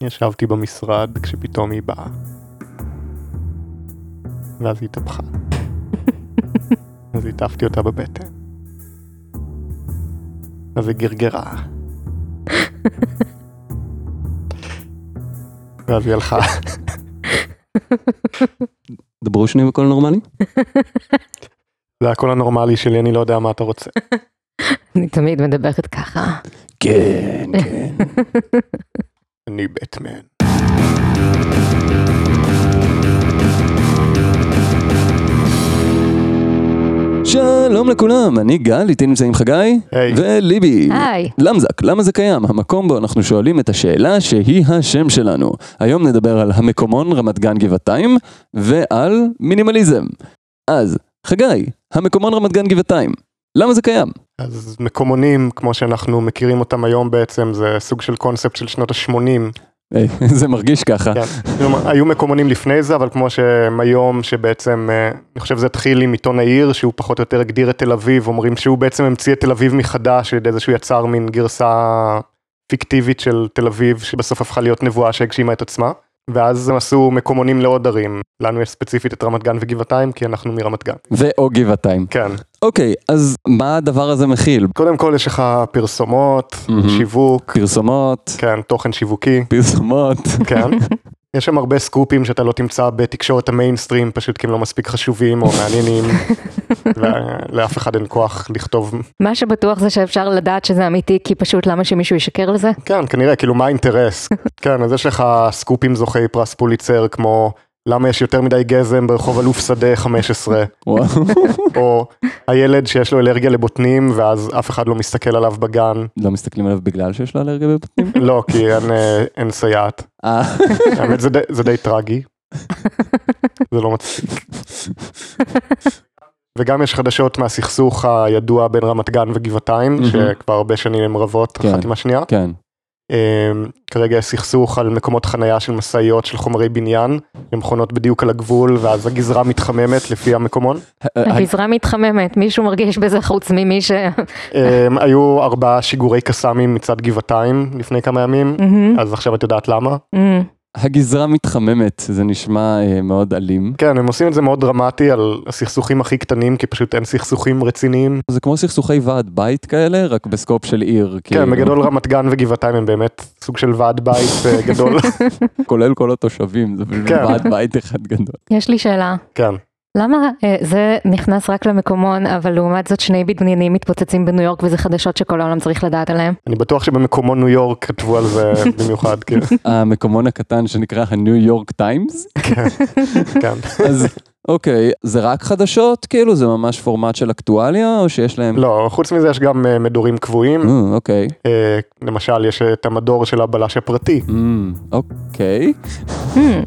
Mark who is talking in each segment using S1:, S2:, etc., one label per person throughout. S1: ישבתי במשרד כשפתאום היא באה. ואז היא התהפכה. אז הטפתי אותה בבטן. אז היא גרגרה. ואז היא הלכה.
S2: דברו שנייה בקול נורמלי.
S1: זה הקול הנורמלי שלי, אני לא יודע מה אתה רוצה.
S3: אני תמיד מדברת ככה.
S2: כן, כן.
S1: אני בטמן.
S2: שלום לכולם, אני גל, איתי נמצאים חגי
S1: היי.
S2: וליבי.
S3: היי.
S2: למזק, למה זה קיים? המקום בו אנחנו שואלים את השאלה שהיא השם שלנו. היום נדבר על המקומון רמת גן גבעתיים ועל מינימליזם. אז, חגי, המקומון רמת גן גבעתיים, למה זה קיים?
S1: אז מקומונים, כמו שאנחנו מכירים אותם היום בעצם, זה סוג של קונספט של שנות ה-80.
S2: אה, זה מרגיש ככה.
S1: כן. כלומר, היו מקומונים לפני זה, אבל כמו שהם היום, שבעצם, אה, אני חושב זה התחיל עם עיתון העיר, שהוא פחות או יותר הגדיר את תל אביב, אומרים שהוא בעצם המציא את תל אביב מחדש, על ידי זה שהוא יצר מין גרסה פיקטיבית של תל אביב, שבסוף הפכה להיות נבואה שהגשימה את עצמה. ואז הם עשו מקומונים לעוד ערים, לנו יש ספציפית את רמת גן וגבעתיים, כי אנחנו מרמת גן.
S2: ואו גבעתיים.
S1: כן.
S2: אוקיי, אז מה הדבר הזה מכיל?
S1: קודם כל יש לך פרסומות,
S2: מהמם.
S1: שיווק,
S2: פרסומות,
S1: כן, תוכן שיווקי,
S2: פרסומות.
S1: כן. יש שם הרבה סקופים שאתה לא תמצא בתקשורת המיינסטרים, פשוט כי הם לא מספיק חשובים או מעניינים, ו- לאף אחד אין כוח לכתוב,
S3: מה שבטוח זה שאפשר לדעת שזה אמיתי, כי פשוט למה שמישהו ישקר לזה?
S1: כן, כנראה, כאילו מה האינטרס? כן, אז יש לך סקופים זוכי פרס פוליצר, כמו למה יש יותר מדי גזם ברחוב אלוף שדה 15,
S2: וואו.
S1: או הילד שיש לו אלרגיה לבוטנים, ואז אף אחד לא מסתכל עליו בגן,
S2: לא מסתכלים עליו בגלל שיש לו אלרגיה בבטנים?
S1: לא, כי אין, אה, אין סייעת.
S2: אה,
S1: האמת זה די, זה די טרגי. זה לא מצחיק. וגם יש חדשות מהסכסוך הידוע בין רמת גן וגבעתיים,
S2: מהמם.
S1: שכבר הרבה שנים הן רבות
S2: כן.
S1: אחת עם השנייה.
S2: כן.
S1: אמ, כרגע יש סכסוך על מקומות חנייה של משאיות של חומרי בניין, למכונות בדיוק על הגבול, ואז הגזרה מתחממת לפי המקומון.
S3: הגזרה מתחממת, מישהו מרגיש בזה חוץ ממי ש...
S1: אמ, היו ארבעה שיגורי קסאמים מצד גבעתיים לפני כמה ימים,
S3: מהמם,
S1: אז עכשיו את יודעת למה?
S3: מהמם.
S2: הגזרה מתחממת, זה נשמע אה, מאוד אלים.
S1: כן, הם עושים את זה מאוד דרמטי על הסכסוכים הכי קטנים, כי פשוט אין סכסוכים רציניים.
S2: זה כמו סכסוכי ועד בית כאלה, רק בסקופ של עיר. כאילו.
S1: כן, בגדול רמת גן וגבעתיים הם באמת סוג של ועד בית אה, גדול.
S2: כולל כל התושבים, זה פשוט
S1: כן.
S2: ועד בית אחד גדול.
S3: יש לי שאלה.
S1: כן.
S3: למה אה, זה נכנס רק למקומון, אבל לעומת זאת שני בניינים מתפוצצים בניו יורק וזה חדשות שכל העולם צריך לדעת עליהם?
S1: אני בטוח שבמקומון ניו יורק כתבו על זה במיוחד, כאילו.
S2: המקומון הקטן שנקרא הניו יורק טיימס.
S1: כן.
S2: אז אוקיי, זה רק חדשות? כאילו זה ממש פורמט של אקטואליה, או שיש להם...
S1: לא, חוץ מזה יש גם אה, מדורים קבועים.
S2: אה, אוקיי.
S1: אה, למשל, יש את המדור של הבלש הפרטי.
S2: אמ, אוקיי.
S3: מהמם.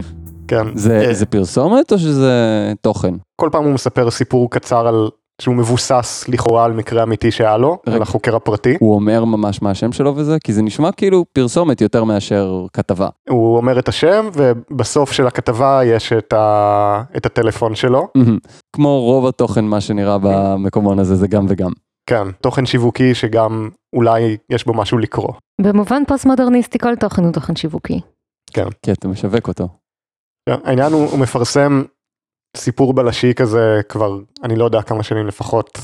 S1: כן.
S2: זה
S1: אה,
S2: זה פרסומת או שזה תוכן?
S1: כל פעם הוא מספר סיפור קצר על... שהוא מבוסס לכאורה על מקרה אמיתי שהיה לו,
S2: רגע.
S1: על החוקר הפרטי.
S2: הוא אומר ממש מה השם שלו וזה? כי זה נשמע כאילו פרסומת יותר מאשר כתבה.
S1: הוא אומר את השם, ובסוף של הכתבה יש את, ה... את הטלפון שלו.
S2: אמ, כמו רוב התוכן, מה שנראה במקומון הזה, זה גם וגם.
S1: כן, תוכן שיווקי שגם אולי יש בו משהו לקרוא.
S3: במובן פוסט-מודרניסטי כל תוכן הוא תוכן שיווקי.
S2: כי אתה משווק אותו.
S1: כן, העניין הוא, הוא מפרסם סיפור בלשי כזה כבר, אני לא יודע כמה שנים לפחות,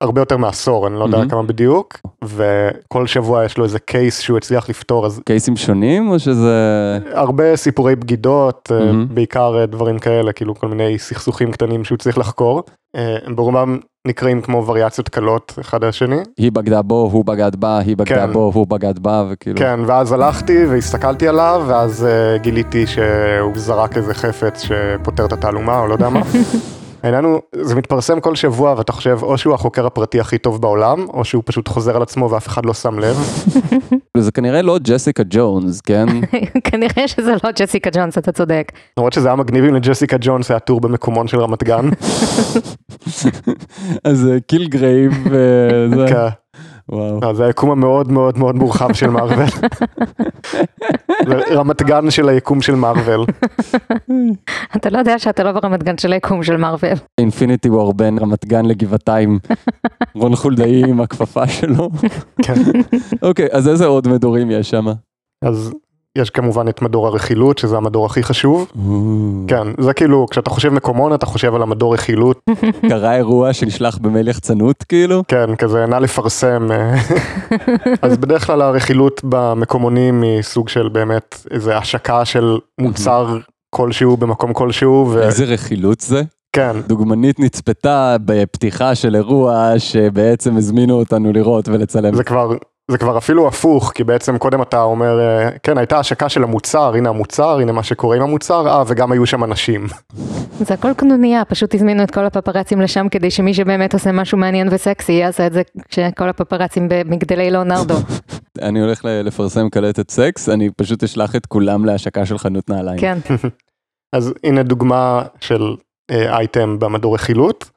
S1: הרבה יותר מעשור, אני לא יודע
S2: מהמם.
S1: כמה בדיוק, וכל שבוע יש לו איזה קייס שהוא הצליח לפתור, אז
S2: קייסים שונים או שזה...
S1: הרבה סיפורי בגידות, אה,
S2: מהמם.
S1: בעיקר אה, דברים כאלה, כאילו כל מיני סכסוכים קטנים שהוא צריך לחקור, אה, הם ברובם נקראים כמו וריאציות קלות אחד על השני.
S2: היא בגדה בו, הוא בגד בה, היא בגדה
S1: כן.
S2: בו, הוא בגד בה, וכאילו...
S1: כן, ואז הלכתי והסתכלתי עליו, ואז אה, גיליתי שהוא זרק איזה חפץ שפותר את התעלומה, או לא יודע מה. העניין הוא, זה מתפרסם כל שבוע, ואתה חושב, או שהוא החוקר הפרטי הכי טוב בעולם, או שהוא פשוט חוזר על עצמו ואף אחד לא שם לב.
S2: זה כנראה לא ג'סיקה ג'ונס, כן?
S3: כנראה שזה לא ג'סיקה ג'ונס, אתה צודק.
S1: למרות שזה היה מגניב אם לג'סיקה ג'ונס היה טור במקומון של רמת גן.
S2: אז אה, קיל גרייב, אה, זה...
S1: כן.
S2: וואו.
S1: לא, זה היקום המאוד מאוד מאוד מורחב של מארוול. זה רמת גן של היקום של מארוול.
S3: אתה לא יודע שאתה לא ברמת גן של היקום של מארוול.
S2: אינפיניטי וור בין רמת גן לגבעתיים. רון חולדאי עם הכפפה שלו.
S1: כן.
S2: אוקיי, אז איזה עוד מדורים יש שם?
S1: אז יש כמובן את מדור הרכילות, שזה המדור הכי חשוב. כן, זה כאילו, כשאתה חושב מקומון, אתה חושב על המדור רכילות.
S2: קרה אירוע שנשלח במייל יחצנות כאילו?
S1: כן, כזה, נא לפרסם. אה, אז בדרך כלל הרכילות במקומונים היא סוג של באמת איזה השקה של מוצר כלשהו במקום כלשהו. ו-
S2: איזה רכילות זה?
S1: כן,
S2: דוגמנית נצפתה בפתיחה של אירוע שבעצם הזמינו אותנו לראות ולצלם.
S1: זה כבר, זה כבר אפילו הפוך, כי בעצם קודם אתה אומר, אה, כן, הייתה השקה של המוצר, הנה המוצר, הנה מה שקורה עם המוצר, אה, וגם היו שם אנשים.
S3: זה הכל קנוניה, פשוט הזמינו את כל הפפרצים לשם כדי שמי שבאמת עושה משהו מעניין וסקסי יעשה את זה כשכל הפפרצים במגדלי לאונרדו.
S2: אני הולך ל- לפרסם קלטת סקס, אני פשוט אשלח את כולם להשקה של חנות נעליים.
S3: כן.
S1: אז הנה דוגמה של אה, אייטם במדור רכילות.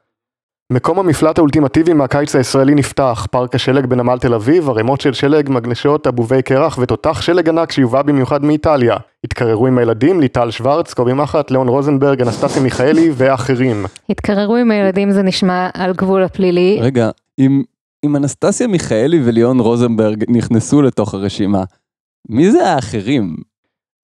S1: מקום המפלט האולטימטיבי מהקיץ הישראלי נפתח, פארק השלג בנמל תל אביב, ערימות של שלג, מגנשות, אבובי קרח ותותח שלג ענק שיובא במיוחד מאיטליה. התקררו עם הילדים, ליטל שוורץ, קובי מחט, ליאון רוזנברג, אנסטסיה מיכאלי ואחרים.
S3: התקררו עם הילדים זה נשמע על גבול הפלילי.
S2: רגע, אם, אם אנסטסיה מיכאלי וליאון רוזנברג נכנסו לתוך הרשימה, מי זה האחרים?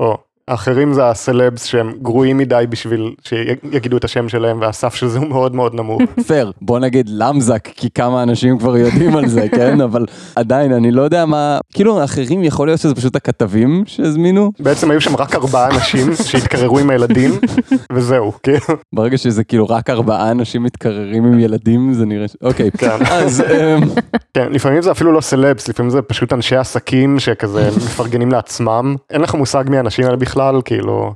S1: או, האחרים זה הסלבס שהם גרועים מדי בשביל שיגידו את השם שלהם והסף של זה הוא מאוד מאוד נמוך.
S2: פייר, בוא נגיד למזק, כי כמה אנשים כבר יודעים על זה, כן? אבל עדיין, אני לא יודע מה... כאילו, האחרים יכול להיות שזה פשוט הכתבים שהזמינו?
S1: בעצם היו שם רק ארבעה אנשים שהתקררו עם הילדים וזהו, כאילו.
S2: ברגע שזה כאילו רק ארבעה אנשים מתקררים עם ילדים, זה נראה ש... אוקיי,
S1: כן.
S2: אז... אמ,
S1: כן, לפעמים זה אפילו לא סלבס, לפעמים זה פשוט אנשי עסקים שכזה מפרגנים לעצמם. אין לך מושג מי האנשים האלה בכלל, כאילו,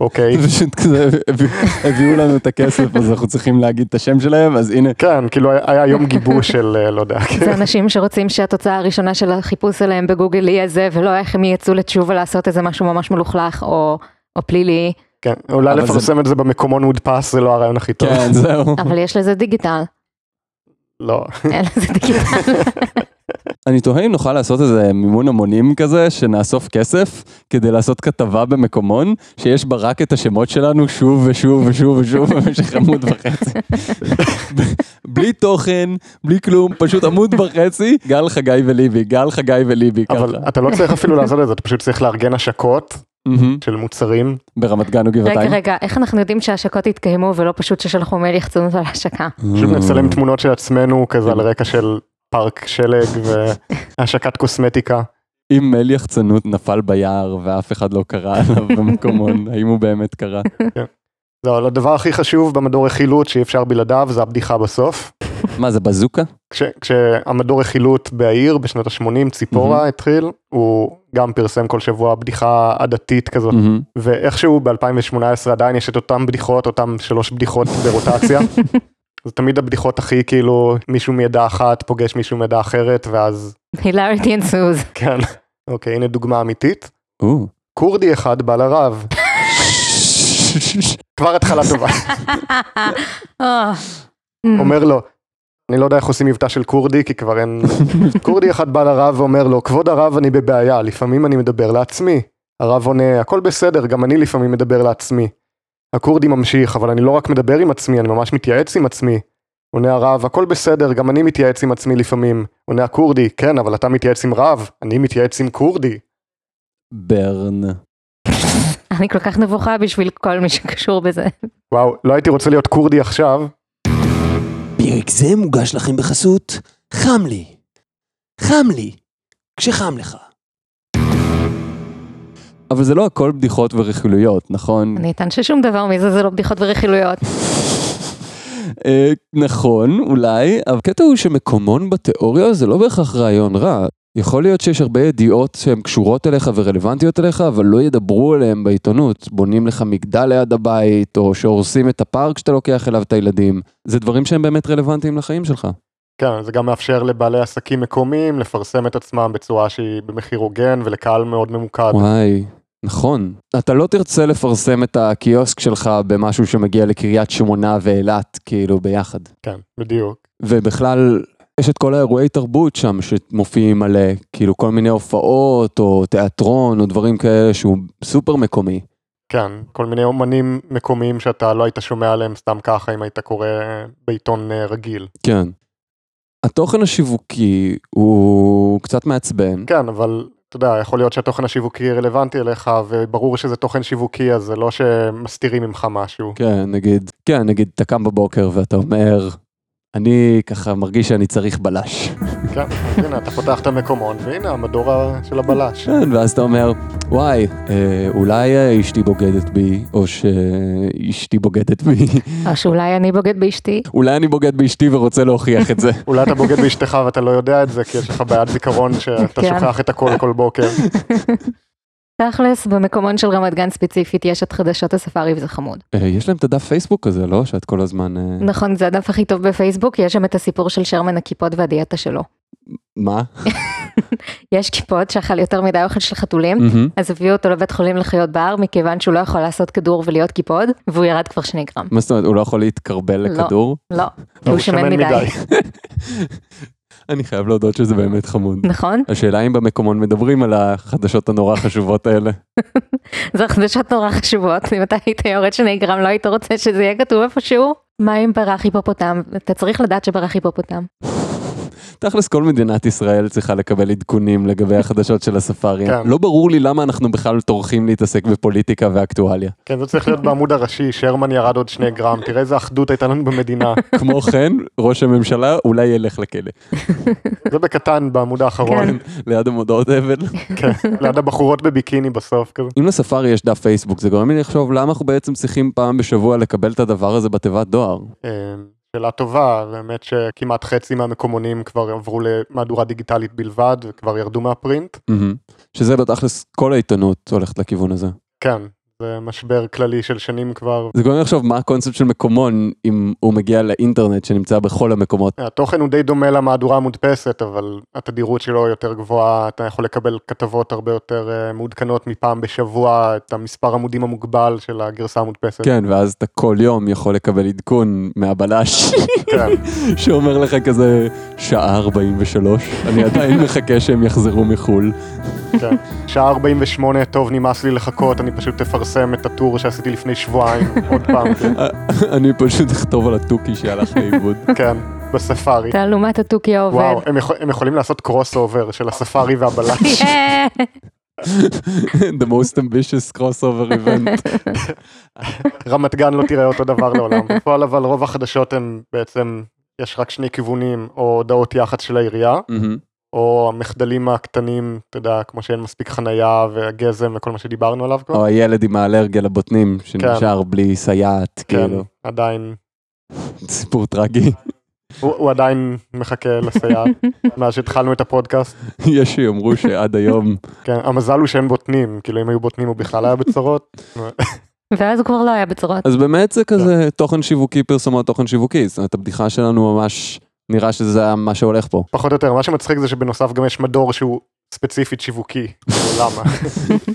S1: אוקיי.
S2: זה פשוט כזה, הביאו- הביאו לנו את הכסף, אז אנחנו צריכים להגיד את השם שלהם, אז הנה,
S1: כן, כאילו היה היה יום גיבוש של, אה, לא יודע,
S3: זה אנשים שרוצים שהתוצאה הראשונה של החיפוש עליהם בגוגל יהיה זה, ולא איך הם יצאו לתשובה לעשות איזה משהו ממש מלוכלך או... או פלילי,
S1: כן, אולי
S2: אבל זה-
S1: לפרסם את זה במקומון מודפס זה לא הרעיון הכי טוב.
S2: כן, זהו.
S3: אבל יש לזה דיגיטל,
S1: לא.
S3: אין לזה דיגיטל.
S2: אני תוהה אם נוכל לעשות איזה מימון המונים כזה, שנאסוף כסף כדי לעשות כתבה במקומון, שיש בה רק את השמות שלנו שוב ושוב ושוב ושוב במשך עמוד וחצי. בלי תוכן, בלי כלום, פשוט עמוד וחצי, גל חגי וליבי, גל חגי וליבי, ככה.
S1: אבל אתה לא צריך אפילו לעשות את זה, אתה פשוט צריך לארגן השקות
S2: מהמם.
S1: של מוצרים.
S2: ברמת גן או
S3: רגע,
S2: גבעתיים.
S3: רגע, איך אנחנו יודעים שההשקות התקיימו ולא פשוט ששלחו מייל יחצנות על ההשקה?
S2: אה.
S1: פשוט
S2: Mm.
S1: נצלם תמונות של עצמנו כזה על רקע של פארק שלג והשקת קוסמטיקה.
S2: אם מל יחצנות נפל ביער ואף אחד לא קרא עליו במקומון, האם הוא באמת קרא?
S1: לא, אבל הדבר הכי חשוב במדור רכילות שאי אפשר בלעדיו זה הבדיחה בסוף.
S2: מה זה בזוקה?
S1: כש, כשהמדור רכילות בעיר בשנות ה-80 ציפורה התחיל, הוא גם פרסם כל שבוע בדיחה עדתית כזאת,
S2: מהמם.
S1: ואיכשהו ב-2018 עדיין יש את אותן בדיחות, אותן שלוש בדיחות ברוטציה. זה תמיד הבדיחות הכי כאילו מישהו מעדה אחת פוגש מישהו מעדה אחרת ואז
S3: הילאריטי אנסוז.
S1: כן. אוקיי הנה דוגמה אמיתית.
S2: או.
S1: כורדי אחד בא לרב. כבר התחלה טובה. אומר לו, אני לא יודע איך עושים מבטא של כורדי, כי כבר אין... כורדי אחד בא לרב ואומר לו, כבוד הרב, אני בבעיה, לפעמים אני מדבר לעצמי. הרב עונה, הכל בסדר, גם אני לפעמים מדבר לעצמי. הכורדי ממשיך, אבל אני לא רק מדבר עם עצמי, אני ממש מתייעץ עם עצמי. עונה הרב, הכל בסדר, גם אני מתייעץ עם עצמי לפעמים. עונה הכורדי, כן, אבל אתה מתייעץ עם רב, אני מתייעץ עם כורדי.
S2: ברן.
S3: אני כל כך נבוכה בשביל כל מי שקשור בזה.
S1: וואו, לא הייתי רוצה להיות כורדי עכשיו.
S4: פרק זה מוגש לכם בחסות חם לי. חם לי, כשחם לך.
S2: אבל זה לא הכל בדיחות ורכילויות, נכון?
S3: אני אטען ששום דבר מזה זה לא בדיחות ורכילויות.
S2: אה, נכון, אולי, אבל הקטע הוא שמקומון בתיאוריה זה לא בהכרח רעיון רע. יכול להיות שיש הרבה ידיעות שהן קשורות אליך ורלוונטיות אליך, אבל לא ידברו עליהן בעיתונות. בונים לך מגדל ליד הבית, או שהורסים את הפארק שאתה לוקח אליו את הילדים. זה דברים שהם באמת רלוונטיים לחיים שלך.
S1: כן, זה גם מאפשר לבעלי עסקים מקומיים לפרסם את עצמם בצורה שהיא במחיר הוגן ולקהל מאוד ממוקד.
S2: וואי, נכון. אתה לא תרצה לפרסם את הקיוסק שלך במשהו שמגיע לקריית שמונה ואילת, כאילו, ביחד.
S1: כן, בדיוק.
S2: ובכלל, יש את כל האירועי תרבות שם שמופיעים מלא, כאילו כל מיני הופעות או תיאטרון או דברים כאלה שהוא סופר מקומי.
S1: כן, כל מיני אומנים מקומיים שאתה לא היית שומע עליהם סתם ככה אם היית קורא בעיתון אה, רגיל.
S2: כן. התוכן השיווקי הוא קצת מעצבן.
S1: כן, אבל אתה יודע, יכול להיות שהתוכן השיווקי רלוונטי אליך, וברור שזה תוכן שיווקי, אז זה לא שמסתירים ממך משהו.
S2: כן, נגיד, כן, נגיד, אתה קם בבוקר ואתה אומר, אני ככה מרגיש שאני צריך בלש.
S1: כן, הנה, אתה פותח את המקומון, והנה המדור ה- של הבלש.
S2: כן, ואז אתה אומר, וואי, אה, אולי אה, אשתי בוגדת בי, או שאשתי בוגדת בי,
S3: או שאולי אני בוגד באשתי.
S2: אולי אני בוגד באשתי ורוצה להוכיח את זה.
S1: אולי אתה בוגד באשתך ואתה לא יודע את זה, כי יש לך בעיית זיכרון שאתה
S3: כן.
S1: שוכח את הכל כל בוקר.
S3: תכלס, במקומון של רמת גן ספציפית יש את חדשות הספארי וזה חמוד.
S2: אה, יש להם את הדף פייסבוק הזה, לא? שאת כל הזמן... אה,
S3: נכון, זה הדף הכי טוב בפייסבוק, יש שם את הסיפור של שרמן הקיפוד והדיאטה שלו.
S2: מה?
S3: יש קיפוד שאכל יותר מדי אוכל של חתולים,
S2: מהמם.
S3: אז הביאו אותו לבית חולים לחיות בר, מכיוון שהוא לא יכול לעשות כדור ולהיות קיפוד, והוא ירד כבר שני גרם.
S2: מה זאת אומרת, הוא לא יכול להתקרבל
S3: לא.
S2: לכדור?
S3: לא, כי הוא שמן מדי.
S2: אני חייב להודות שזה באמת חמוד.
S3: נכון?
S2: השאלה אם במקומון מדברים על החדשות הנורא חשובות האלה.
S3: זה חדשות נורא חשובות, אם אתה היית יורד שני גרם לא היית רוצה שזה יהיה כתוב איפשהו? מה אם ברח היפופוטם? אתה צריך לדעת שברח היפופוטם.
S2: תכלס כל מדינת ישראל צריכה לקבל עדכונים לגבי החדשות של הספארי.
S1: כן.
S2: לא ברור לי למה אנחנו בכלל טורחים להתעסק בפוליטיקה ואקטואליה.
S1: כן, זה צריך להיות בעמוד הראשי, שרמן ירד עוד שני גרם, תראה איזה אחדות הייתה לנו במדינה.
S2: כמו כן, ראש הממשלה אולי ילך לכלא.
S1: זה בקטן בעמוד האחרון,
S3: כן.
S2: ליד המודעות אבל.
S1: כן, ליד הבחורות בביקיני בסוף, כזה.
S2: אם לספארי יש דף פייסבוק, זה גורם לי לחשוב למה אנחנו בעצם צריכים פעם בשבוע לקבל את הדבר הזה בתיבת דואר.
S1: אה, שאלה טובה, באמת שכמעט חצי מהמקומונים כבר עברו למהדורה דיגיטלית בלבד, וכבר ירדו מהפרינט.
S2: מהמם. שזה בתכלס כל העיתונות הולכת לכיוון הזה.
S1: כן, זה משבר כללי של שנים כבר.
S2: זה גורם לי לחשוב מה הקונספט של מקומון אם הוא מגיע לאינטרנט שנמצא בכל המקומות.
S1: התוכן הוא די דומה למהדורה המודפסת, אבל התדירות שלו יותר גבוהה, אתה יכול לקבל כתבות הרבה יותר אה, מעודכנות מפעם בשבוע, את המספר עמודים המוגבל של הגרסה המודפסת.
S2: כן, ואז אתה כל יום יכול לקבל עדכון מהבלש
S1: כן.
S2: שאומר לך כזה שעה 43, אני עדיין מחכה שהם יחזרו מחול.
S1: כן. שעה 48, טוב, נמאס לי לחכות, אני פשוט אפרסם את הטור שעשיתי לפני שבועיים, עוד פעם, כן,
S2: אני פשוט אכתוב על התוכי שהלך לאיבוד.
S1: כן, בספארי.
S3: תעלומת התוכי העובד.
S1: וואו, הם, יכול, הם יכולים לעשות קרוס אובר של הספארי והבלש.
S3: יאה.
S2: The most ambitious crossover event.
S1: רמת גן לא תראה אותו דבר לעולם. בפועל אבל רוב החדשות הם בעצם, יש רק שני כיוונים, או הודעות יח"צ של העירייה,
S2: מהמם.
S1: או המחדלים הקטנים, אתה יודע, כמו שאין מספיק חנייה והגזם וכל מה שדיברנו עליו כבר.
S2: או הילד עם האלרגיה לבוטנים שנשאר בלי סייעת,
S1: כן,
S2: כאילו.
S1: עדיין,
S2: סיפור טרגי.
S1: הוא, הוא עדיין מחכה לסייעת מאז שהתחלנו את הפודקאסט.
S2: יש שיאמרו שעד היום
S1: כן, המזל הוא שאין בוטנים, כאילו אם היו בוטנים הוא בכלל היה בצרות.
S3: ואז הוא כבר לא היה בצרות.
S2: אז באמת זה כזה תוכן שיווקי, פרסומות תוכן שיווקי. זאת אומרת, הבדיחה שלנו ממש נראה שזה היה מה שהולך פה.
S1: פחות או יותר, מה שמצחיק זה שבנוסף גם יש מדור שהוא ספציפית שיווקי, כאילו, למה?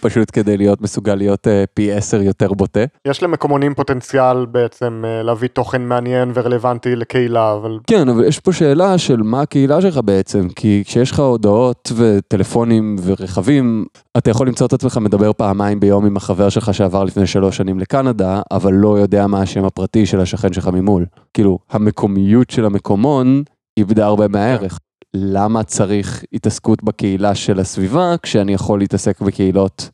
S2: פשוט כדי להיות מסוגל להיות אה, פי עשר יותר בוטה.
S1: יש למקומונים פוטנציאל בעצם אה, להביא תוכן מעניין ורלוונטי לקהילה, אבל
S2: כן, אבל יש פה שאלה של מה הקהילה שלך בעצם, כי כשיש לך הודעות וטלפונים ורכבים, אתה יכול למצוא את עצמך מדבר פעמיים ביום עם החבר שלך שעבר לפני שלוש שנים לקנדה, אבל לא יודע מה השם הפרטי של השכן שלך ממול. כאילו, המקומיות של המקומון איבדה הרבה מהערך. למה צריך התעסקות בקהילה של הסביבה, כשאני יכול להתעסק בקהילות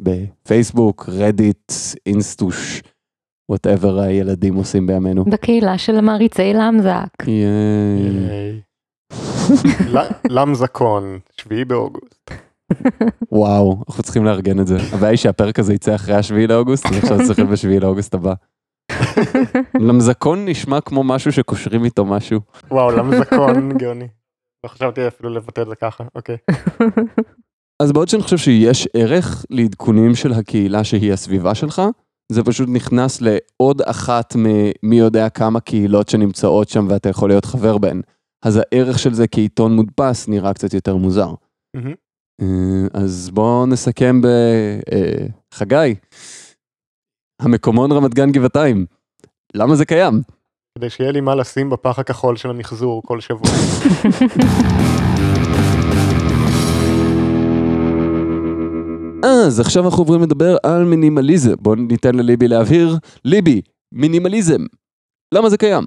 S2: בפייסבוק, רדיט, אינסטוש, וואטאבר הילדים עושים בימינו.
S3: בקהילה של מעריצי למזק.
S2: ייי.
S1: אה, ל- למזקון, שביעי באוגוסט.
S2: וואו, אנחנו צריכים לארגן את זה. הבעיה היא שהפרק הזה יצא אחרי השביעי לאוגוסט, אז עכשיו צריך להיות בשביעי לאוגוסט הבא. למזקון נשמע כמו משהו שקושרים איתו משהו.
S1: וואו, למזקון, גאוני. לא חשבתי אפילו לבטא את זה ככה, אוקיי.
S2: אז בעוד שאני חושב שיש ערך לעדכונים של הקהילה שהיא הסביבה שלך, זה פשוט נכנס לעוד אחת ממי יודע כמה קהילות שנמצאות שם ואתה יכול להיות חבר בהן. אז הערך של זה כעיתון מודפס נראה קצת יותר מוזר.
S1: מהמם.
S2: אה, אז בואו נסכם ב... אה, חגי, המקומון רמת גן גבעתיים, למה זה קיים?
S1: כדי שיהיה לי מה לשים בפח הכחול של המחזור כל שבוע.
S2: אז עכשיו אנחנו עוברים לדבר על מינימליזם. בואו ניתן לליבי להבהיר. ליבי, מינימליזם, למה זה קיים?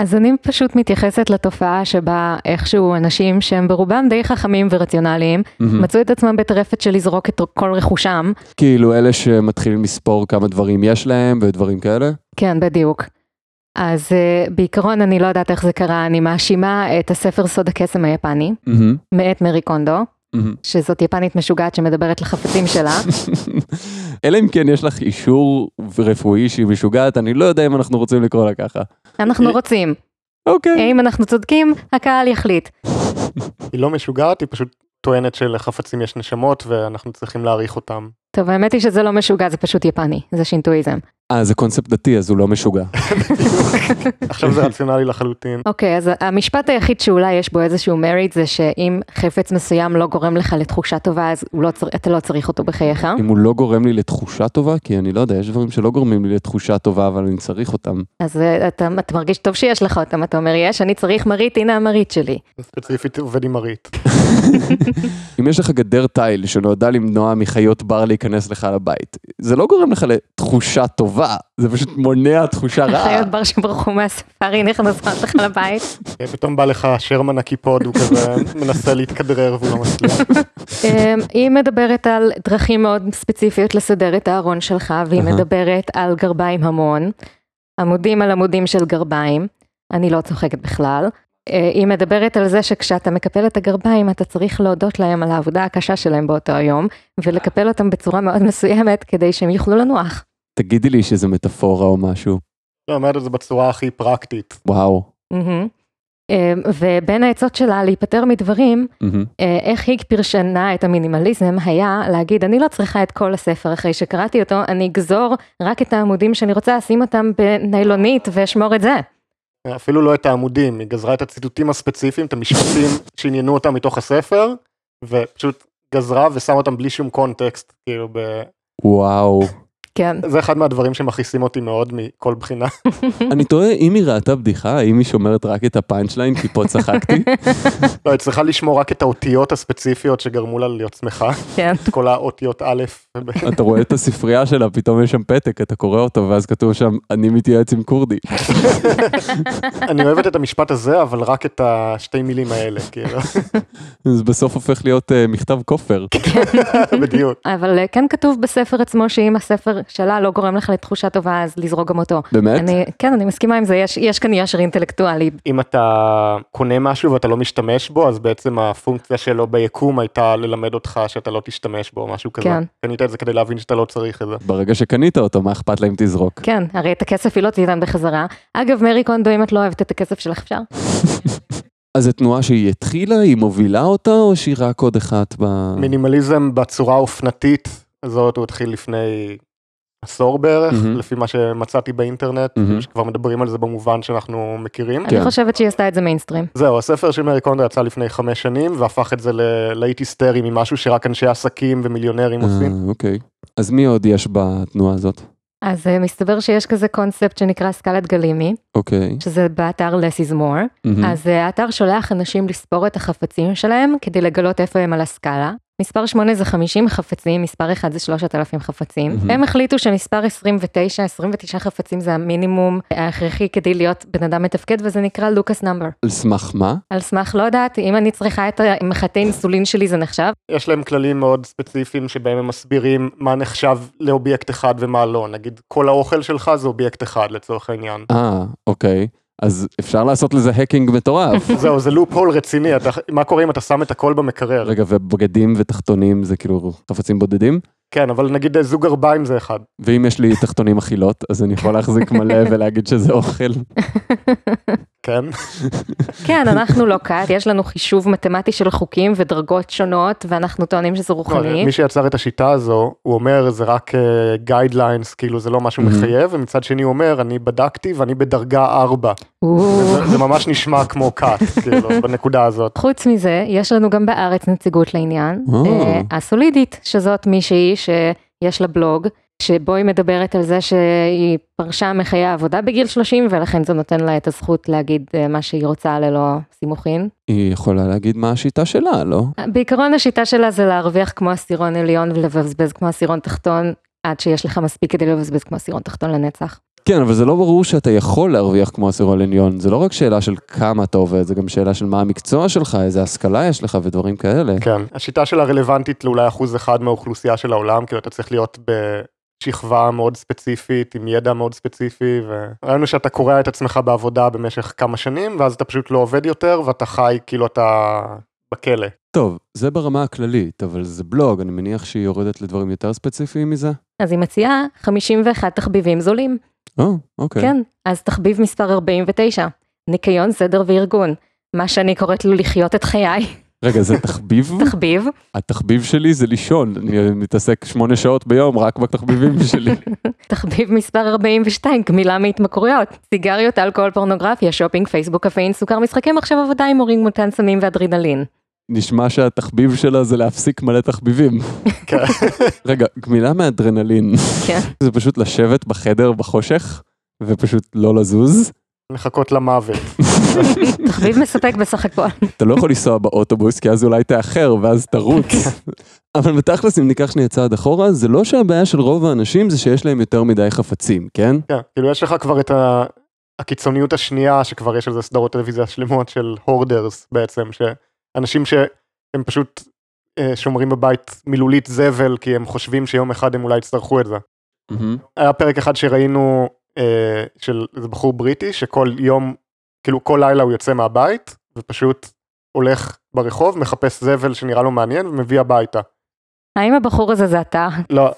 S3: אז אני פשוט מתייחסת לתופעה שבה איכשהו אנשים שהם ברובם די חכמים ורציונליים,
S2: מהמם.
S3: מצאו את עצמם בטרפת של לזרוק את כל רכושם,
S2: כאילו אלה שמתחילים לספור כמה דברים יש להם ודברים כאלה.
S3: כן, בדיוק. אז uh, בעיקרון אני לא יודעת איך זה קרה, אני מאשימה את הספר סוד הקסם היפני,
S2: מהמם.
S3: מאת מרי קונדו,
S2: מהמם.
S3: שזאת יפנית משוגעת שמדברת לחפצים שלה.
S2: אלא אם כן יש לך אישור רפואי שהיא משוגעת, אני לא יודע אם אנחנו רוצים לקרוא לה ככה.
S3: אנחנו רוצים,
S2: אוקיי.
S3: אם אנחנו צודקים, הקהל יחליט.
S1: היא לא משוגעת, היא פשוט טוענת שלחפצים יש נשמות ואנחנו צריכים להעריך אותם.
S3: טוב, האמת היא שזה לא משוגע, זה פשוט יפני, זה שינטואיזם.
S2: אה, זה קונספט דתי, אז הוא לא משוגע.
S1: עכשיו זה רציונלי לחלוטין.
S3: אוקיי, אז המשפט היחיד שאולי יש בו איזשהו מריט זה שאם חפץ מסוים לא גורם לך לתחושה טובה, אז הוא לא צר... אתה לא צריך אותו בחייך.
S2: אם הוא לא גורם לי לתחושה טובה, כי אני לא יודע, יש דברים שלא גורמים לי לתחושה טובה, אבל אני צריך אותם.
S3: אז אה, אתה, אתה מרגיש טוב שיש לך אותם, אתה אומר, יש, אני צריך מרית, הנה המרית שלי.
S1: ספציפית עובד עם מרית.
S2: אם יש לך גדר תיל שנועדה למנוע מחיות בר להיכנס לך לבית, זה לא גורם לך לתחושה טובה, זה פשוט מונע תחושה רעה.
S3: חיות בר שברחו מהספארי נכנסות לך לבית.
S1: אה, פתאום בא לך שרמן הקיפוד, הוא כזה מנסה להתכדרר והוא לא מצליח.
S3: אמ, היא מדברת על דרכים מאוד ספציפיות לסדר את הארון שלך, והיא
S2: אהה.
S3: מדברת על גרביים המון, עמודים על עמודים של גרביים, אני לא צוחקת בכלל. אה, היא מדברת על זה שכשאתה מקפל את הגרביים, אתה צריך להודות להם על העבודה הקשה שלהם באותו היום, ולקפל אותם בצורה מאוד מסוימת כדי שהם יוכלו לנוח.
S2: תגידי לי שזה מטאפורה או משהו.
S1: לא, אומרת את זה בצורה הכי פרקטית.
S2: וואו.
S3: מהמם. אמ, ובין העצות שלה להיפטר מדברים,
S2: מהמם.
S3: אה, איך היא פרשנה את המינימליזם היה להגיד אני לא צריכה את כל הספר אחרי שקראתי אותו, אני אגזור רק את העמודים שאני רוצה אשים אותם בניילונית ואשמור את זה.
S1: אפילו לא את העמודים, היא גזרה את הציטוטים הספציפיים, את המשפטים שעניינו אותם מתוך הספר, ופשוט גזרה ושמה אותם בלי שום קונטקסט, כאילו ב...
S2: וואו.
S3: כן.
S1: זה אחד מהדברים שמכעיסים אותי מאוד מכל בחינה.
S2: אני תוהה אם היא ראתה בדיחה, האם היא שומרת רק את הפאנצ' ליין, כי פה צחקתי.
S1: לא, היא צריכה לשמור רק את האותיות הספציפיות שגרמו לה להיות שמחה,
S3: כן.
S1: את כל האותיות א', וב-
S2: אתה רואה את הספרייה שלה, פתאום יש שם פתק, אתה קורא אותו, ואז כתוב שם, אני מתייעץ עם כורדי.
S1: אני אוהבת את המשפט הזה, אבל רק את השתי מילים האלה, כאילו,
S2: זה בסוף הופך להיות אה, מכתב כופר.
S1: בדיוק.
S3: אבל אה, כן כתוב בספר עצמו שאם הספר שלה לא גורם לך לתחושה טובה אז לזרוק גם אותו.
S2: באמת?
S3: אני, כן, אני מסכימה עם זה, יש, יש כאן יושר אינטלקטואלי.
S1: אם אתה קונה משהו ואתה לא משתמש בו, אז בעצם הפונקציה שלו ביקום הייתה ללמד אותך שאתה לא תשתמש בו, משהו כזה.
S3: כן.
S1: קנית את זה כדי להבין שאתה לא צריך את זה.
S2: ברגע שקנית אותו, מה אכפת לה אם תזרוק?
S3: כן, הרי את הכסף היא לא תיתן בחזרה. אגב, מרי קונדו, אם את לא אוהבת את הכסף שלך, אפשר?
S2: כן. אז זו תנועה שהיא התחילה, היא מובילה אותה, או שהיא רק עוד אחת ב...
S1: מינימליזם בצורה האופנתית הזאת הוא התחיל לפני עשור בערך,
S2: מהמם.
S1: לפי מה שמצאתי באינטרנט,
S2: מהמם.
S1: שכבר מדברים על זה במובן שאנחנו מכירים.
S2: כן.
S3: אני חושבת שהיא עשתה את זה מיינסטרים.
S1: זהו, הספר של מרי קונדו יצא לפני חמש שנים והפך את זה ללהיט היסטרי ממשהו שרק אנשי עסקים ומיליונרים עושים.
S2: אה, אוקיי. אז מי עוד יש בתנועה הזאת?
S3: אז אה, מסתבר שיש כזה קונספט שנקרא סקלת גלימי,
S2: אוקיי.
S3: שזה באתר Less is More.
S2: מהמם.
S3: אז אה, האתר שולח אנשים לספור את החפצים שלהם כדי לגלות איפה הם על הסקאלה. מספר 8 זה 50 חפצים, מספר 1 זה 3,000 חפצים.
S2: מהמם.
S3: הם החליטו שמספר 29, 29 חפצים זה המינימום ההכרחי כדי להיות בן אדם מתפקד, וזה נקרא לוקאס נאמבר.
S2: על סמך מה?
S3: על סמך, לא יודעת, אם אני צריכה את המחטי אינסולין שלי זה נחשב?
S1: יש להם כללים מאוד ספציפיים שבהם הם מסבירים מה נחשב לאובייקט אחד ומה לא. נגיד, כל האוכל שלך זה אובייקט אחד לצורך העניין.
S2: אה, אוקיי. אז אפשר לעשות לזה האקינג מטורף.
S1: זהו, זה לופ הול רציני, אתה, מה קורה אם אתה שם את הכל במקרר?
S2: רגע, ובגדים ותחתונים זה כאילו חפצים בודדים?
S1: כן, אבל נגיד אה, זוג גרביים זה אחד.
S2: ואם יש לי תחתונים אכילות, אז אני יכול להחזיק מלא ולהגיד שזה אוכל.
S1: כן,
S3: כן, אנחנו לא קאט, יש לנו חישוב מתמטי של חוקים ודרגות שונות, ואנחנו טוענים שזה רוחני.
S1: לא, מי שיצר את השיטה הזו, הוא אומר זה רק גיידליינס, כאילו זה לא משהו
S2: Mhm.
S1: מחייב, ומצד שני הוא אומר, אני בדקתי ואני בדרגה 4.
S3: או.
S1: זה ממש נשמע כמו קאט, כאילו, בנקודה הזאת.
S3: חוץ מזה, יש לנו גם בארץ נציגות לעניין,
S2: או.
S3: אה, הסולידית, שזאת מישהי שיש לה בלוג, שבו היא מדברת על זה שהיא פרשה מחיי העבודה בגיל 30, ולכן זה נותן לה את הזכות להגיד אה, מה שהיא רוצה ללא סימוכין.
S2: היא יכולה להגיד מה השיטה שלה, לא?
S3: בעיקרון השיטה שלה זה להרוויח כמו עשירון עליון ולבזבז כמו עשירון תחתון, עד שיש לך מספיק כדי לא לבזבז כמו עשירון תחתון לנצח.
S2: כן, אבל זה לא ברור שאתה יכול להרוויח כמו עשירון עליון. זה לא רק שאלה של כמה אתה עובד, זה גם שאלה של מה המקצוע שלך, איזה השכלה יש לך ודברים כאלה.
S1: כן, השיטה שלה רלוונטית לאולי אחוז אחד מהאוכלוסייה של העולם, כאילו אתה צריך להיות בשכבה מאוד ספציפית, עם ידע מאוד ספציפי, וראינו שאתה קורע את עצמך בעבודה במשך כמה שנים, ואז אתה פשוט לא עובד יותר, ואתה חי כאילו אתה בכלא.
S2: טוב, זה ברמה הכללית, אבל זה בלוג, אני מניח שהיא יורדת לדברים יותר ספציפיים מזה?
S3: אז היא מציעה 51 תחביבים זולים.
S2: או, אוקיי.
S3: כן, אז תחביב מספר 49, ניקיון, סדר וארגון. מה שאני קוראת לו לחיות את חיי,
S2: רגע, זה תחביב?
S3: תחביב.
S2: התחביב שלי זה לישון, אני מתעסק שמונה שעות ביום רק בתחביבים שלי.
S3: תחביב מספר 42, גמילה מהתמכרויות. סיגריות, אלכוהול, פורנוגרפיה, שופינג, פייסבוק, קפאין, סוכר, משחקים, עכשיו עבודה עם הורים מותן סמים ואדרנלין.
S2: נשמע שהתחביב שלה זה להפסיק מלא תחביבים.
S1: כן.
S2: רגע, גמילה מאדרנלין,
S3: כן.
S2: זה פשוט לשבת בחדר בחושך ופשוט לא לזוז.
S1: לחכות למוות.
S3: תחביב מספק בסך הכל.
S2: אתה לא יכול לנסוע באוטובוס, כי אז אולי תאחר, ואז תרוץ. אבל בתכלס, אם ניקח שנייה צעד אחורה, זה לא שהבעיה של רוב האנשים זה שיש להם יותר מדי חפצים, כן?
S1: כן, כאילו יש לך כבר את ה... הקיצוניות השנייה, שכבר יש על זה סדרות טלוויזיה שלמות של הורדרס בעצם, שאנשים שהם פשוט אה, שומרים בבית מילולית זבל, כי הם חושבים שיום אחד הם אולי יצטרכו את זה. היה פרק אחד שראינו אה, של איזה בחור בריטי שכל יום, כאילו כל לילה הוא יוצא מהבית ופשוט הולך ברחוב, מחפש זבל שנראה לו מעניין ומביא הביתה.
S3: האם הבחור הזה זה אתה?
S1: לא,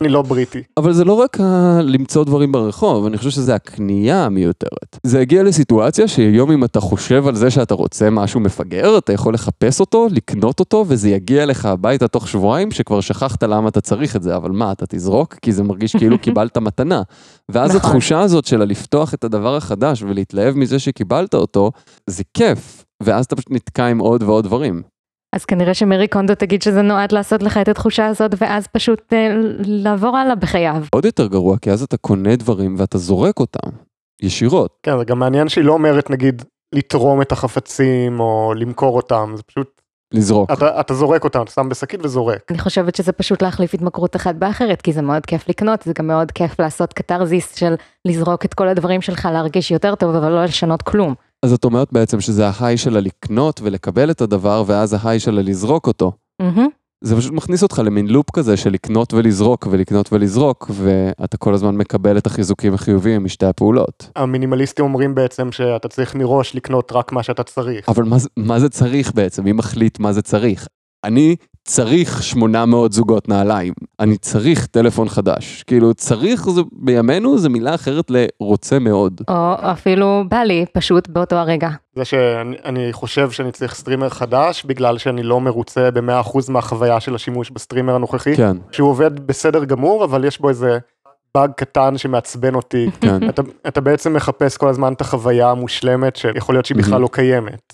S1: אני לא בריטי.
S2: אבל זה לא רק ה... למצוא דברים ברחוב, אני חושב שזה הקנייה המיותרת. זה הגיע לסיטואציה שהיום אם אתה חושב על זה שאתה רוצה משהו מפגר, אתה יכול לחפש אותו, לקנות אותו, וזה יגיע לך הביתה תוך שבועיים, שכבר שכחת למה אתה צריך את זה, אבל מה, אתה תזרוק? כי זה מרגיש כאילו קיבלת מתנה. ואז
S3: נכון.
S2: התחושה הזאת של לפתוח את הדבר החדש ולהתלהב מזה שקיבלת אותו, זה כיף. ואז אתה פשוט נתקע עם עוד ועוד דברים.
S3: אז כנראה שמרי קונדו תגיד שזה נועד לעשות לך את התחושה הזאת, ואז פשוט אה, לעבור הלאה בחייו.
S2: עוד יותר גרוע, כי אז אתה קונה דברים ואתה זורק אותם, ישירות.
S1: כן, זה גם מעניין שהיא לא אומרת נגיד לתרום את החפצים או למכור אותם, זה פשוט,
S2: לזרוק.
S1: אתה, אתה זורק אותם, אתה שם בשקית וזורק.
S3: אני חושבת שזה פשוט להחליף התמכרות אחת באחרת, כי זה מאוד כיף לקנות, זה גם מאוד כיף לעשות קתרזיס של לזרוק את כל הדברים שלך, להרגיש יותר טוב, אבל לא לשנות כלום.
S2: אז את אומרת בעצם שזה ההיי שלה לקנות ולקבל את הדבר, ואז ההיי שלה לזרוק אותו.
S3: מהמם.
S2: זה פשוט מכניס אותך למין לופ כזה של לקנות ולזרוק ולקנות ולזרוק, ואתה כל הזמן מקבל את החיזוקים החיוביים משתי הפעולות.
S1: המינימליסטים אומרים בעצם שאתה צריך מראש לקנות רק מה שאתה צריך.
S2: אבל מה, זה- מה זה צריך בעצם? מי מחליט מה זה צריך? אני צריך 800 זוגות נעליים, אני צריך טלפון חדש. כאילו, צריך זה בימינו זה מילה אחרת לרוצה מאוד.
S3: או אפילו בא לי, פשוט באותו הרגע.
S1: זה שאני אני חושב שאני צריך סטרימר חדש, בגלל שאני לא מרוצה ב-100% מהחוויה של השימוש בסטרימר הנוכחי,
S2: כן,
S1: שהוא עובד בסדר גמור, אבל יש בו איזה באג קטן שמעצבן אותי.
S2: כן.
S1: אתה, אתה בעצם מחפש כל הזמן את החוויה המושלמת, שיכול להיות שהיא בכלל
S2: Mhm.
S1: לא קיימת.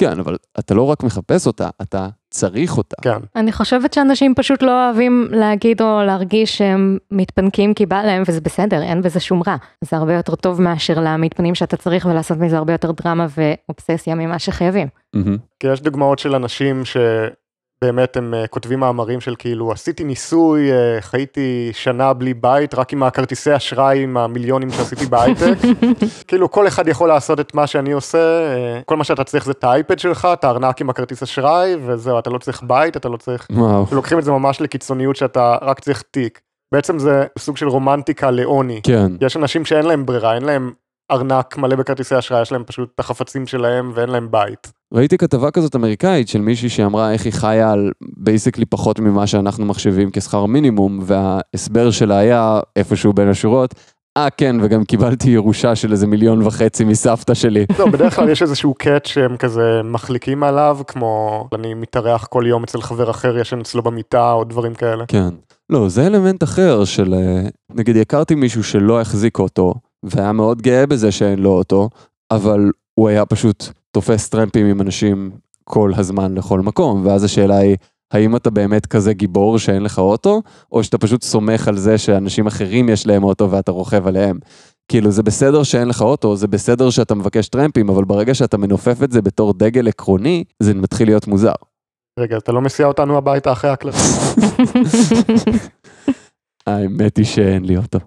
S2: כן, אבל אתה לא רק מחפש אותה, אתה צריך אותה.
S1: כן.
S3: אני חושבת שאנשים פשוט לא אוהבים להגיד או להרגיש שהם מתפנקים כי בא להם, וזה בסדר, אין בזה שום רע. זה הרבה יותר טוב מאשר למתפנים שאתה צריך, ולעשות מזה הרבה יותר דרמה ואובססיה ממה שחייבים.
S2: מהמם.
S1: כי יש דוגמאות של אנשים שבאמת הם אה, כותבים מאמרים של כאילו עשיתי ניסוי, אה, חייתי שנה בלי בית, רק עם הכרטיסי אשראי, עם המיליונים שעשיתי בהייטק. כאילו כל אחד יכול לעשות את מה שאני עושה, אה, כל מה שאתה צריך זה את האייפד שלך, את הארנק עם הכרטיס אשראי, וזהו, אתה לא צריך בית, אתה לא צריך...
S2: וואו.
S1: לוקחים את זה ממש לקיצוניות שאתה רק צריך תיק. בעצם זה סוג של רומנטיקה לעוני.
S2: כן.
S1: יש אנשים שאין להם ברירה, אין להם ארנק מלא בכרטיסי אשראי, יש להם פשוט את החפצים שלהם ואין להם בית.
S2: ראיתי כתבה כזאת אמריקאית של מישהי שאמרה איך היא חיה על בייסקלי פחות ממה שאנחנו מחשבים כשכר מינימום, וההסבר שלה היה איפשהו בין השורות, אה כן, וגם קיבלתי ירושה של איזה מיליון וחצי מסבתא שלי.
S1: לא, בדרך כלל יש איזשהו קאט שהם כזה מחליקים עליו, כמו אני מתארח כל יום אצל חבר אחר, ישן אצלו במיטה, או דברים כאלה.
S2: כן. לא, זה אלמנט אחר של, אה, נגיד, הכרתי מישהו שלא החזיק אוטו, והיה מאוד גאה בזה שאין לו אוטו, אבל הוא היה פשוט תופס טרמפים עם אנשים כל הזמן לכל מקום, ואז השאלה היא, האם אתה באמת כזה גיבור שאין לך אוטו, או שאתה פשוט סומך על זה שאנשים אחרים יש להם אוטו ואתה רוכב עליהם. כאילו, זה בסדר שאין לך אוטו, זה בסדר שאתה מבקש טרמפים, אבל ברגע שאתה מנופף את זה בתור דגל עקרוני, זה מתחיל להיות מוזר.
S1: רגע, אתה לא מסיע אותנו הביתה אחרי הקלטה.
S5: האמת היא שאין לי אותו.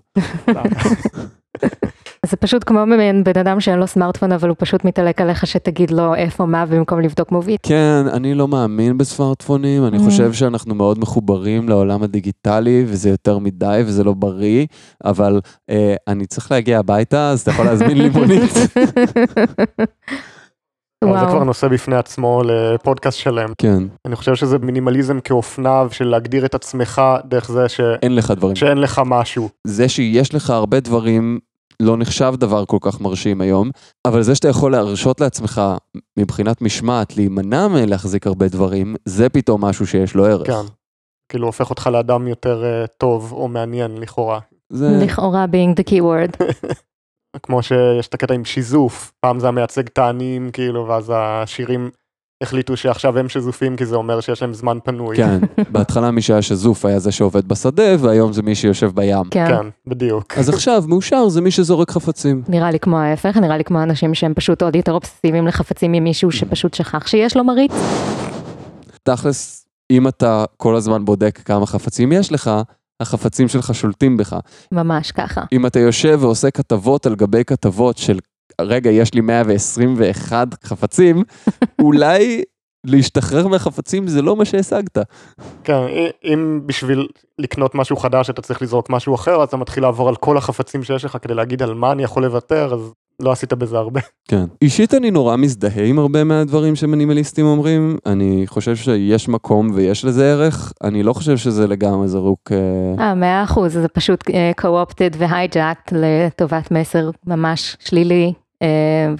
S3: זה פשוט כמו מעין בן אדם שאין לו סמארטפון, אבל הוא פשוט מתעלק עליך שתגיד לו איפה מה במקום לבדוק מוביט.
S2: כן, אני לא מאמין בסמארטפונים, אני
S3: Mm.
S2: חושב שאנחנו מאוד מחוברים לעולם הדיגיטלי, וזה יותר מדי, וזה לא בריא, אבל אה, אני צריך להגיע הביתה, אז אתה יכול להזמין לי מונית.
S1: אבל זה כבר
S3: וואו,
S1: נושא בפני עצמו לפודקאסט שלם.
S2: כן,
S1: אני חושב שזה מינימליזם כאופנה של להגדיר את עצמך דרך זה ש...
S2: אין לך דברים.
S1: שאין לך משהו.
S2: זה שיש לך הרבה דברים לא נחשב דבר כל כך מרשים היום, אבל זה שאתה יכול להרשות לעצמך מבחינת משמעת להימנע מלהחזיק הרבה דברים, זה פתאום משהו שיש לו ערך.
S1: כן. כאילו הופך אותך לאדם יותר אה, טוב או מעניין לכאורה.
S2: זה...
S3: לכאורה being the keyword.
S1: כמו שיש את הקטע עם שיזוף, פעם זה המייצג את העניים כאילו, ואז השירים החליטו שעכשיו הם שזופים כי זה אומר שיש להם זמן פנוי.
S2: כן, בהתחלה מי שהיה שזוף היה זה שעובד בשדה, והיום זה מי שיושב בים.
S3: כן.
S1: כן, בדיוק.
S2: אז עכשיו, מאושר זה מי שזורק חפצים.
S3: נראה לי כמו ההפך, נראה לי כמו אנשים שהם פשוט עוד יותר אובססיביים לחפצים ממישהו שפשוט שכח שיש לו מריץ.
S2: תכלס, אם אתה כל הזמן בודק כמה חפצים יש לך, החפצים שלך שולטים בך.
S3: ממש ככה.
S2: אם אתה יושב ועושה כתבות על גבי כתבות של, רגע, יש לי 121 חפצים, אולי להשתחרר מהחפצים זה לא מה שהשגת.
S1: כן, אי- אם בשביל לקנות משהו חדש אתה צריך לזרוק משהו אחר, אז אתה מתחיל לעבור על כל החפצים שיש לך כדי להגיד על מה אני יכול לוותר, אז לא עשית בזה הרבה.
S2: כן. אישית אני נורא מזדהה עם הרבה מהדברים שמינימליסטים אומרים, אני חושב שיש מקום ויש לזה ערך, אני לא חושב שזה לגמרי זרוק... אה,
S3: אה, מאה אחוז, זה פשוט אה, co-opted והייג'אקט לטובת מסר ממש שלילי אה,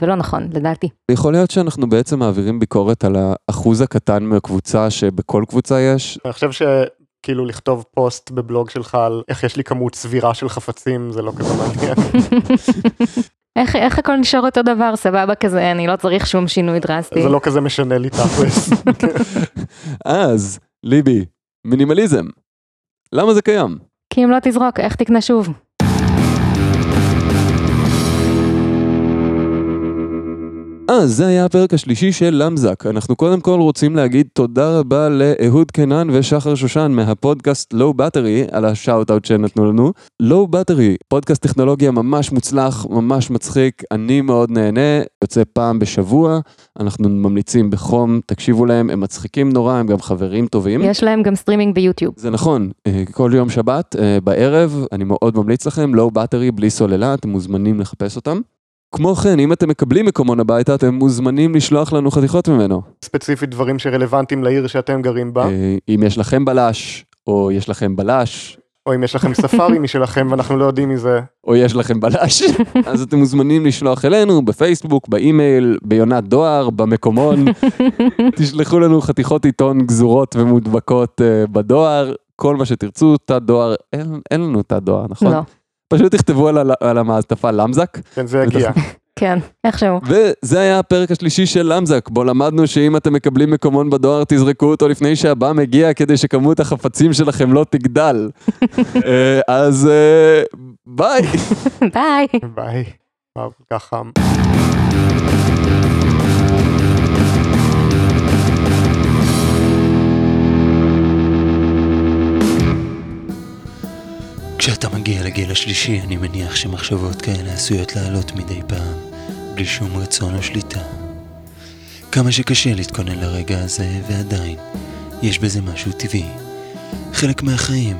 S3: ולא נכון, לדעתי.
S2: יכול להיות שאנחנו בעצם מעבירים ביקורת על האחוז הקטן מהקבוצה שבכל קבוצה יש.
S1: אני חושב שכאילו לכתוב פוסט בבלוג שלך על איך יש לי כמות סבירה של חפצים, זה לא כזה מעניין.
S3: איך, איך הכל נשאר אותו דבר, סבבה כזה, אני לא צריך שום שינוי דרסטי.
S1: זה לא כזה משנה לי תכלס.
S2: אז, ליבי, מינימליזם. למה זה קיים?
S3: כי אם לא תזרוק, איך תקנה שוב?
S1: Mm.
S2: אז אה, זה היה הפרק השלישי של למזק. אנחנו קודם כל רוצים להגיד תודה רבה לאהוד קנן ושחר שושן מהפודקאסט לואו בטרי על השאוט אאוט שנתנו לנו. לואו בטרי, פודקאסט טכנולוגיה ממש מוצלח, ממש מצחיק, אני מאוד נהנה, יוצא פעם בשבוע, אנחנו ממליצים בחום, תקשיבו להם, הם מצחיקים נורא, הם גם חברים טובים.
S3: יש להם גם סטרימינג ביוטיוב.
S2: זה נכון, אה, כל יום שבת אה, בערב, אני מאוד ממליץ לכם, לואו בטרי, בלי סוללה, אתם מוזמנים לחפש אותם. כמו כן, אם אתם מקבלים מקומון הביתה, אתם מוזמנים לשלוח לנו חתיכות ממנו.
S1: ספציפית דברים שרלוונטיים לעיר שאתם גרים בה,
S2: אה, אם יש לכם בלש, או יש לכם בלש,
S1: או אם יש לכם ספארי משלכם ואנחנו לא יודעים מזה,
S2: או יש לכם בלש, אז אתם מוזמנים לשלוח אלינו בפייסבוק, באימייל, ביונת דואר, במקומון. תשלחו לנו חתיכות עיתון גזורות ומודבקות אה, בדואר, כל מה שתרצו, תא דואר, אין, אין לנו תא דואר, נכון?
S3: לא,
S2: פשוט תכתבו על, ה- על המעטפה למזק.
S1: כן זה יגיע.
S3: כן, איכשהו.
S2: וזה היה הפרק השלישי של למזק, בו למדנו שאם אתם מקבלים מקומון בדואר, תזרקו אותו לפני שהבא מגיע, כדי שכמות החפצים שלכם לא תגדל. אה, אז אה, ביי.
S3: ביי.
S1: ביי. וואו, כל כך חם.
S4: כשאתה מגיע לגיל השלישי, אני מניח שמחשבות כאלה עשויות לעלות מדי פעם, בלי שום רצון או שליטה. כמה שקשה להתכונן לרגע הזה, ועדיין, יש בזה משהו טבעי. חלק מהחיים,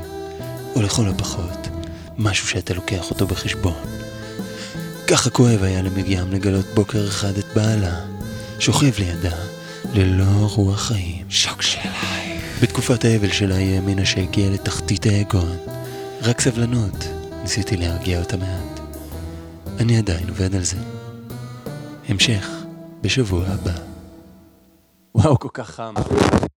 S4: או לכל הפחות, משהו שאתה לוקח אותו בחשבון. ככה כואב היה למגיעם לגלות בוקר אחד את בעלה, שוכב לידה, ללא רוח חיים. שוק שלייך. בתקופת האבל שלה היא האמינה שהגיעה לתחתית היגון. רק סבלנות, ניסיתי להרגיע אותה מעט. אני עדיין עובד על זה. המשך, בשבוע הבא.
S2: וואו, כל כך חם.